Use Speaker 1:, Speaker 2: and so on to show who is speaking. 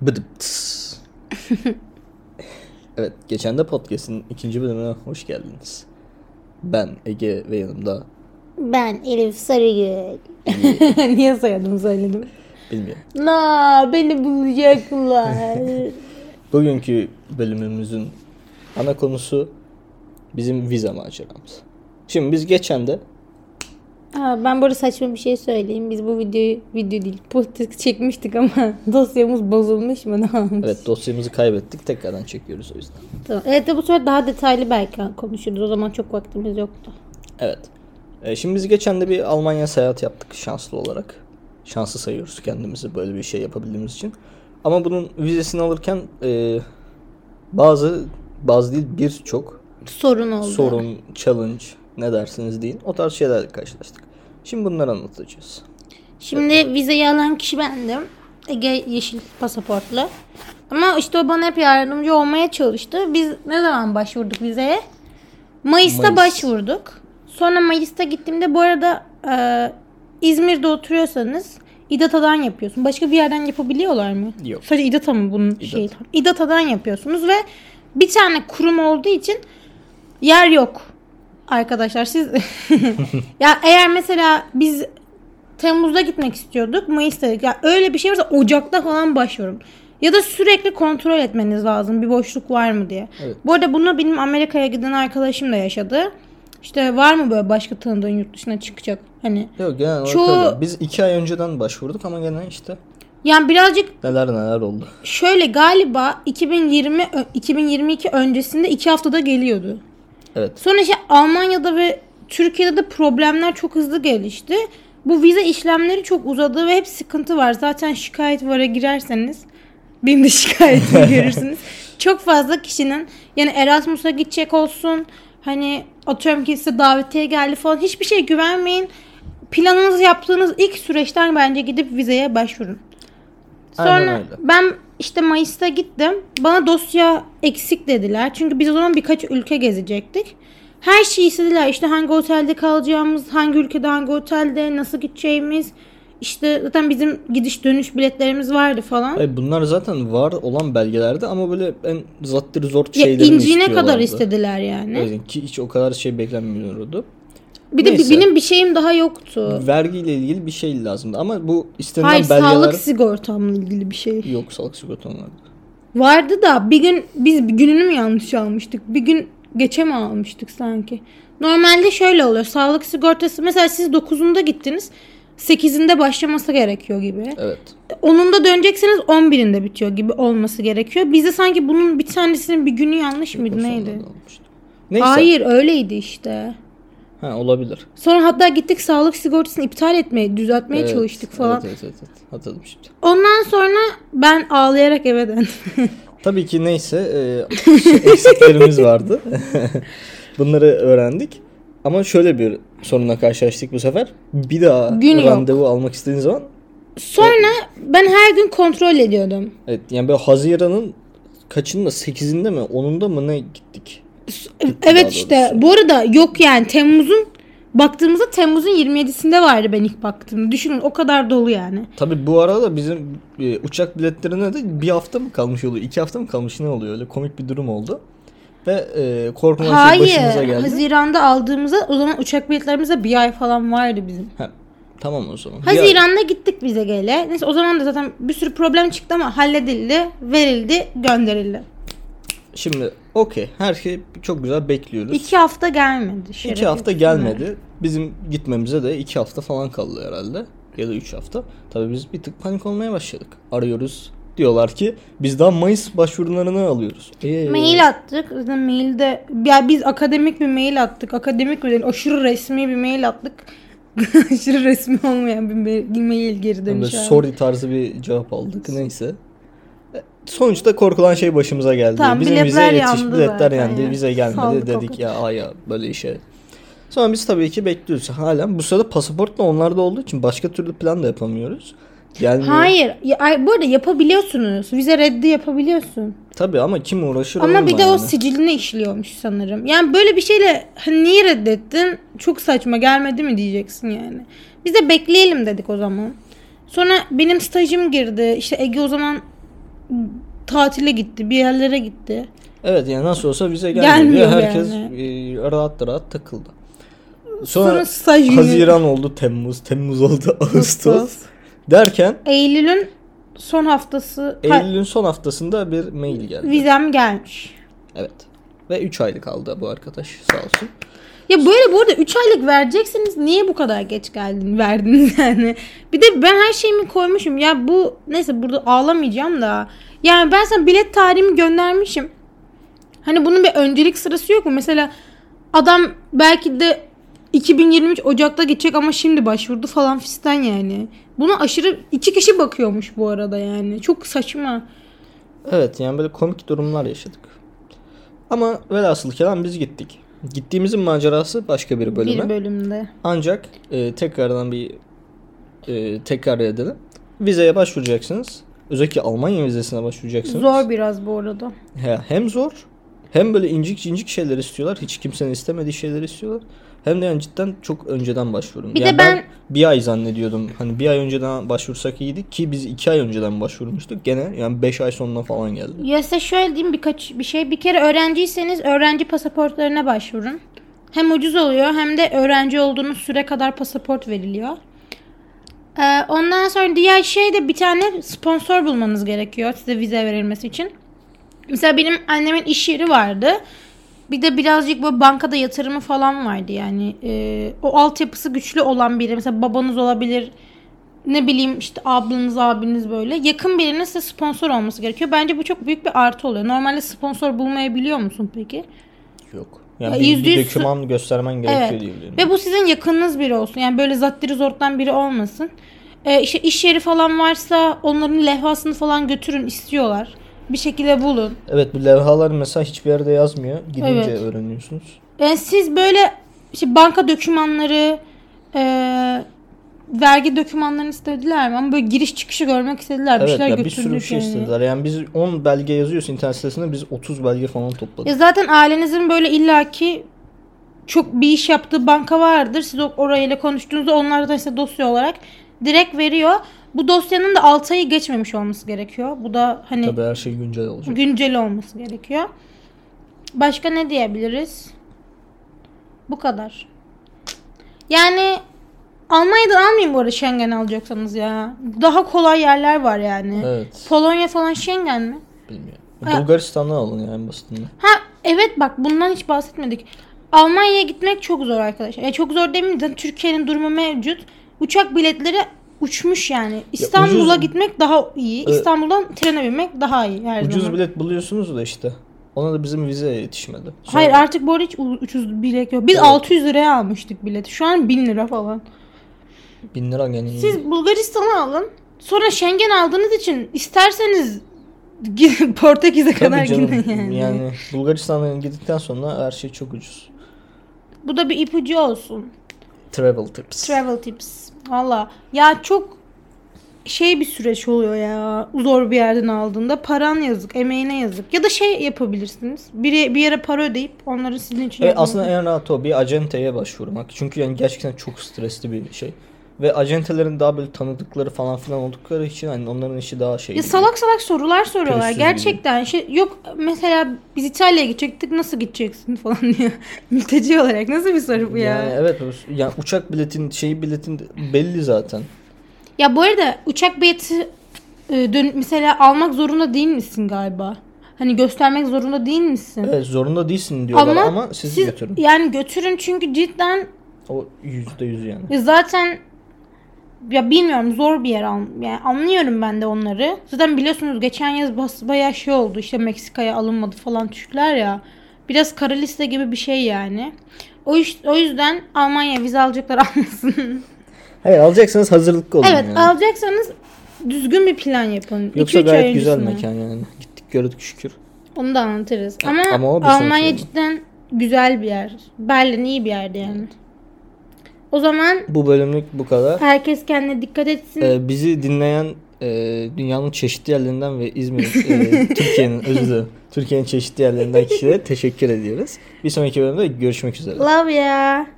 Speaker 1: Bıdım tıs. evet, geçen de podcast'in ikinci bölümüne hoş geldiniz. Ben Ege ve yanımda
Speaker 2: Ben Elif Sarıgül. Niye soyadım söyledim.
Speaker 1: bilmiyorum.
Speaker 2: Na beni bulacaklar.
Speaker 1: Bugünkü bölümümüzün ana konusu bizim vize maceramız. Şimdi biz geçen de
Speaker 2: Aa, ben böyle saçma bir şey söyleyeyim. Biz bu videoyu video değil podcast çekmiştik ama dosyamız bozulmuş mu ne olmuş?
Speaker 1: evet dosyamızı kaybettik tekrardan çekiyoruz o yüzden.
Speaker 2: Tamam. Evet de bu sefer daha detaylı belki konuşuruz. O zaman çok vaktimiz yoktu.
Speaker 1: Evet. E, şimdi biz geçen de bir Almanya seyahat yaptık şanslı olarak. Şanslı sayıyoruz kendimizi böyle bir şey yapabildiğimiz için. Ama bunun vizesini alırken e, bazı bazı değil birçok
Speaker 2: Sorun oldu.
Speaker 1: sorun, challenge ne dersiniz deyin. O tarz şeylerle karşılaştık. Şimdi bunları anlatacağız.
Speaker 2: Şimdi vizeyi alan kişi bendim. Ege yeşil pasaportlu. Ama işte o bana hep yardımcı olmaya çalıştı. Biz ne zaman başvurduk vizeye? Mayıs'ta
Speaker 1: Mayıs.
Speaker 2: başvurduk. Sonra Mayıs'ta gittiğimde bu arada e, İzmir'de oturuyorsanız İdata'dan yapıyorsun. Başka bir yerden yapabiliyorlar mı?
Speaker 1: Yok.
Speaker 2: Sadece İdata mı bunun şeyi? İdata'dan yapıyorsunuz ve bir tane kurum olduğu için yer yok arkadaşlar. Siz ya eğer mesela biz Temmuz'da gitmek istiyorduk. Mayıs'ta dedik. Ya öyle bir şey varsa Ocak'ta falan başvurum. Ya da sürekli kontrol etmeniz lazım bir boşluk var mı diye.
Speaker 1: Evet.
Speaker 2: Bu arada bunu benim Amerika'ya giden arkadaşım da yaşadı. İşte var mı böyle başka tanıdığın yurt dışına çıkacak? Hani
Speaker 1: Yok genel olarak
Speaker 2: Çoğu-
Speaker 1: öyle. Biz iki ay önceden başvurduk ama gene işte
Speaker 2: yani birazcık
Speaker 1: neler neler oldu.
Speaker 2: şöyle galiba 2020 ö- 2022 öncesinde iki haftada geliyordu.
Speaker 1: Evet.
Speaker 2: Sonra işte Almanya'da ve Türkiye'de de problemler çok hızlı gelişti. Bu vize işlemleri çok uzadı ve hep sıkıntı var. Zaten şikayet vara girerseniz benim de şikayetimi görürsünüz. Çok fazla kişinin yani Erasmus'a gidecek olsun hani atıyorum ki size davetiye geldi falan hiçbir şeye güvenmeyin. Planınızı yaptığınız ilk süreçten bence gidip vizeye başvurun.
Speaker 1: Aynen
Speaker 2: Sonra
Speaker 1: öyle.
Speaker 2: ben işte Mayıs'ta gittim. Bana dosya eksik dediler. Çünkü biz o zaman birkaç ülke gezecektik. Her şeyi istediler. İşte hangi otelde kalacağımız, hangi ülkede hangi otelde, nasıl gideceğimiz. İşte zaten bizim gidiş dönüş biletlerimiz vardı falan.
Speaker 1: Ay E, bunlar zaten var olan belgelerde ama böyle en zattır zor
Speaker 2: Ya
Speaker 1: şeylerini
Speaker 2: incine kadar
Speaker 1: istiyorlardı.
Speaker 2: istediler yani.
Speaker 1: O yüzden ki hiç o kadar şey beklenmiyordu.
Speaker 2: Bir de
Speaker 1: Neyse.
Speaker 2: benim bir şeyim daha yoktu.
Speaker 1: Vergiyle ilgili bir şey lazımdı ama bu istenilen
Speaker 2: Hayır
Speaker 1: belgeler
Speaker 2: sağlık sigortamla ilgili bir şey.
Speaker 1: yok sağlık sigortanın vardı.
Speaker 2: Vardı da bir gün biz bir gününü mü yanlış almıştık? Bir gün geçe mi almıştık sanki? Normalde şöyle oluyor. Sağlık sigortası mesela siz 9'unda gittiniz. 8'inde başlaması gerekiyor gibi.
Speaker 1: Evet.
Speaker 2: 10'unda dönecekseniz 11'inde bitiyor gibi olması gerekiyor. Bizde sanki bunun bir tanesinin bir günü yanlış mıydı
Speaker 1: Sonradan
Speaker 2: neydi?
Speaker 1: olmuştu. Neyse.
Speaker 2: Hayır öyleydi işte.
Speaker 1: Ha, olabilir.
Speaker 2: Sonra hatta gittik sağlık sigortasını iptal etmeye, düzeltmeye
Speaker 1: Evet,
Speaker 2: çalıştık falan.
Speaker 1: Evet, evet, evet, evet. Hatırladım şimdi.
Speaker 2: Ondan sonra ben ağlayarak eve döndüm.
Speaker 1: Tabii ki neyse e, şey, eksiklerimiz vardı. Bunları öğrendik. Ama şöyle bir sorunla karşılaştık bu sefer. Bir daha
Speaker 2: Gün yok.
Speaker 1: randevu almak istediğin zaman
Speaker 2: Sonra ben her gün kontrol ediyordum.
Speaker 1: evet, yani böyle Haziran'ın kaçında 8'inde mi 10'unda mı ne gittik? Gitti daha
Speaker 2: Evet işte
Speaker 1: doğrusu.
Speaker 2: bu arada yok yani Temmuz'un baktığımızda Temmuz'un 27'sinde vardı ben ilk baktığımda. Düşünün o kadar dolu yani.
Speaker 1: Tabii bu arada bizim e, uçak biletlerine de bir hafta mı kalmış oluyor? iki hafta mı kalmış ne oluyor? Öyle komik bir durum oldu. Ve e, korkmadan şey başımıza
Speaker 2: Hayır.
Speaker 1: geldi.
Speaker 2: Haziran'da aldığımızda o zaman uçak biletlerimize bir ay falan vardı bizim.
Speaker 1: Ha, tamam o zaman. Bir ay-
Speaker 2: Haziran'da gittik bize gele. Neyse o zaman da zaten bir sürü problem çıktı ama halledildi, verildi, gönderildi.
Speaker 1: Şimdi okey. Her şey çok güzel bekliyoruz.
Speaker 2: İki hafta gelmedi. şeref
Speaker 1: İki hafta
Speaker 2: yok.
Speaker 1: gelmedi. Bizim gitmemize de iki hafta falan kaldı herhalde. Ya da üç hafta. Tabii biz bir tık panik olmaya başladık. Arıyoruz. Diyorlar ki biz daha Mayıs başvurularını alıyoruz. Ee,
Speaker 2: Mail attık. Zaten mailde ya biz akademik bir mail attık. Akademik bir değil, aşırı resmi bir mail attık. aşırı resmi olmayan bir mail, bir mail
Speaker 1: böyle
Speaker 2: geri dönüş. aldık.
Speaker 1: sorry tarzı bir cevap aldık. Neyse. E, Sonuçta korkulan şey başımıza geldi.
Speaker 2: Tamam,
Speaker 1: Bizim vize
Speaker 2: biletler
Speaker 1: yetiş,
Speaker 2: yandı
Speaker 1: biletler
Speaker 2: zaten
Speaker 1: yandı,
Speaker 2: ya.
Speaker 1: vize gelmedi
Speaker 2: Saldık o
Speaker 1: dedik
Speaker 2: kadar.
Speaker 1: ya aya böyle işe. Sonra biz tabii ki bekliyoruz. Halen bu sırada pasaport da onlarda olduğu için başka türlü plan da yapamıyoruz. Gelmiyor.
Speaker 2: Hayır. Ya, ay, bu arada yapabiliyorsunuz. Vize reddi yapabiliyorsun.
Speaker 1: Tabii ama kim uğraşır
Speaker 2: Ama
Speaker 1: onunla
Speaker 2: bir de o
Speaker 1: yani?
Speaker 2: siciline işliyormuş sanırım. Yani böyle bir şeyle hani niye reddettin? Çok saçma gelmedi mi diyeceksin yani. Biz de bekleyelim dedik o zaman. Sonra benim stajım girdi. İşte Ege o zaman tatile gitti, bir yerlere gitti.
Speaker 1: Evet yani nasıl olsa vize gelmiyor.
Speaker 2: Gelmiyor
Speaker 1: diye Herkes
Speaker 2: yani.
Speaker 1: e, rahat rahat takıldı.
Speaker 2: Sonra,
Speaker 1: Sonra
Speaker 2: staj günü.
Speaker 1: Haziran oldu, Temmuz, Temmuz oldu, Ağustos. Derken
Speaker 2: Eylül'ün son haftası ha,
Speaker 1: Eylül'ün son haftasında bir mail geldi.
Speaker 2: vizem gelmiş.
Speaker 1: Evet. Ve 3 aylık aldı bu arkadaş sağ olsun.
Speaker 2: Ya böyle bu arada 3 aylık vereceksiniz niye bu kadar geç geldin verdiniz yani. Bir de ben her şeyimi koymuşum. Ya bu neyse burada ağlamayacağım da. Yani ben sana bilet tarihimi göndermişim. Hani bunun bir öncelik sırası yok mu? Mesela adam belki de 2023 Ocak'ta gidecek ama şimdi başvurdu falan fistan yani. Buna aşırı iki kişi bakıyormuş bu arada yani. Çok saçma.
Speaker 1: Evet yani böyle komik durumlar yaşadık. Ama velhasıl kelam biz gittik. Gittiğimizin macerası başka bir bölüme.
Speaker 2: Bir bölümde.
Speaker 1: Ancak e, tekrardan bir e, tekrar edelim. Vizeye başvuracaksınız. Özellikle Almanya vizesine başvuracaksınız.
Speaker 2: Zor biraz bu arada.
Speaker 1: He, hem zor hem böyle incik incik şeyler istiyorlar. Hiç kimsenin istemediği şeyler istiyorlar. Hem de yani cidden çok önceden başvurun.
Speaker 2: Bir de
Speaker 1: Yani
Speaker 2: ben-
Speaker 1: bir ay zannediyordum. Hani bir ay önceden başvursak iyiydi ki biz iki ay önceden başvurmuştuk. Gene yani beş ay sonuna falan geldi.
Speaker 2: Ya size şöyle diyeyim birkaç bir şey. Bir kere öğrenciyseniz öğrenci pasaportlarına başvurun. Hem ucuz oluyor hem de öğrenci olduğunuz süre kadar pasaport veriliyor. Ee, ondan sonra diğer şey de bir tane sponsor bulmanız gerekiyor size vize verilmesi için. Mesela benim annemin iş yeri vardı. Bir de birazcık böyle bankada yatırımı falan vardı yani. Ee, o altyapısı güçlü olan biri mesela babanız olabilir. Ne bileyim işte ablanız abiniz böyle. Yakın birinin size sponsor olması gerekiyor. Bence bu çok büyük bir artı oluyor. Normalde sponsor bulmayabiliyor musun peki?
Speaker 1: Yok. Yani
Speaker 2: Ya
Speaker 1: bir,
Speaker 2: yüzde
Speaker 1: bir
Speaker 2: yüz-
Speaker 1: doküman göstermen gerekiyor diye biliyorum.
Speaker 2: Ve bu sizin yakınınız biri olsun. Yani böyle zattiri zorttan biri olmasın. Ee, işte iş yeri falan varsa onların levhasını falan götürün istiyorlar. Bir şekilde bulun.
Speaker 1: Evet bu levhalar mesela hiçbir yerde yazmıyor. Gidince
Speaker 2: Evet.
Speaker 1: öğreniyorsunuz.
Speaker 2: Yani siz böyle işte banka dokümanları, e, vergi dokümanlarını istediler mi? Ama böyle giriş çıkışı görmek istediler. bir
Speaker 1: Evet
Speaker 2: şeyler
Speaker 1: ya bir
Speaker 2: götürdük
Speaker 1: sürü şey
Speaker 2: yani.
Speaker 1: istediler. Yani biz 10 belge yazıyoruz internet sitesinde biz 30 belge falan topladık.
Speaker 2: Ya zaten ailenizin böyle illaki çok bir iş yaptığı banka vardır. Siz o- orayla konuştuğunuzda onlar da işte dosya olarak direkt veriyor. Bu dosyanın da 6 ayı geçmemiş olması gerekiyor. Bu da hani
Speaker 1: Tabii her şey güncel olacak.
Speaker 2: güncel olması gerekiyor. Başka ne diyebiliriz? Bu kadar. Yani Almanya'dan almayın bu arada Schengen alacaksanız ya. Daha kolay yerler var yani.
Speaker 1: Evet.
Speaker 2: Polonya falan Schengen mi?
Speaker 1: Bilmiyorum. Bulgaristan'dan alın yani en basitinden.
Speaker 2: Ha evet bak bundan hiç bahsetmedik. Almanya'ya gitmek çok zor arkadaşlar. Ya çok zor demeyeyim de Türkiye'nin durumu mevcut. Uçak biletleri uçmuş yani. İstanbul'a
Speaker 1: ucuz-
Speaker 2: gitmek daha iyi. İstanbul'dan trene binmek daha iyi her
Speaker 1: Ucuz
Speaker 2: zaman.
Speaker 1: bilet buluyorsunuz da işte. Ona da bizim vizeye yetişmedi. Sonra-
Speaker 2: Hayır artık bu arada hiç u- ucuz bilet yok. Biz
Speaker 1: Evet.
Speaker 2: 600 liraya almıştık bileti. Şu an 1000 lira falan.
Speaker 1: Bin lira gene iyi.
Speaker 2: Siz Bulgaristan'ı alın. Sonra Schengen aldığınız için isterseniz gidin Portekiz'e
Speaker 1: Tabii
Speaker 2: kadar
Speaker 1: canım,
Speaker 2: gidin yani.
Speaker 1: yani. Bulgaristan'dan gittikten sonra her şey çok ucuz.
Speaker 2: Bu da bir ipucu olsun.
Speaker 1: Travel tips. E,
Speaker 2: Travel tips. Valla ya çok şey bir süreç oluyor ya zor bir yerden aldığında paran yazık emeğine yazık ya da şey yapabilirsiniz bir, bir yere para ödeyip onları sizin için
Speaker 1: E,
Speaker 2: yapmak.
Speaker 1: aslında en rahat o bir acenteye başvurmak. Çünkü yani gerçekten çok stresli bir şey. Ve acentelerin daha böyle tanıdıkları falan filan oldukları için hani onların işi daha şey.
Speaker 2: ya
Speaker 1: gibi.
Speaker 2: salak salak sorular soruyorlar
Speaker 1: Pürüzsüz
Speaker 2: gerçekten şey yok mesela biz İtalya'ya gidecektik nasıl gideceksin falan diyor mülteci olarak nasıl bir soru bu ya
Speaker 1: Yani evet o- yani uçak biletin şeyi biletin de- belli zaten.
Speaker 2: ya bu arada uçak bileti e, dön- mesela almak zorunda değil misin galiba hani göstermek zorunda değil misin
Speaker 1: Evet zorunda değilsin diyorlar ama, sizi
Speaker 2: siz
Speaker 1: götürün.
Speaker 2: Yani götürün çünkü cidden
Speaker 1: O yüzde yüz yani.
Speaker 2: ya zaten ya bilmiyorum zor bir yer al yani anlıyorum ben de onları. Zaten biliyorsunuz geçen yaz bas bayağı şey oldu işte Meksika'ya alınmadı falan Türkler ya. Biraz kara liste gibi bir şey yani. O, iş, o yüzden Almanya vize alacaklar
Speaker 1: Hmm.
Speaker 2: almasın.
Speaker 1: Hayır alacaksanız hazırlıklı olun
Speaker 2: evet
Speaker 1: yani.
Speaker 2: alacaksanız düzgün bir plan yapın.
Speaker 1: Yoksa
Speaker 2: 2-3 ay
Speaker 1: gayet güzel
Speaker 2: öncesine.
Speaker 1: mekan yani. Gittik gördük şükür.
Speaker 2: Onu da anlatırız. Ama,
Speaker 1: ama o bir sonraki
Speaker 2: Almanya
Speaker 1: bölüm.
Speaker 2: cidden güzel bir yer. Berlin iyi bir yerdi yani. O zaman
Speaker 1: Bu bölümlük bu kadar.
Speaker 2: herkes kendine dikkat etsin.
Speaker 1: Ee, bizi dinleyen e, dünyanın çeşitli yerlerinden ve İzmir, e, Türkiye'nin özür dilerim. Türkiye'nin çeşitli yerlerinden kişilere teşekkür ediyoruz. Bir sonraki bölümde görüşmek üzere.
Speaker 2: Love ya.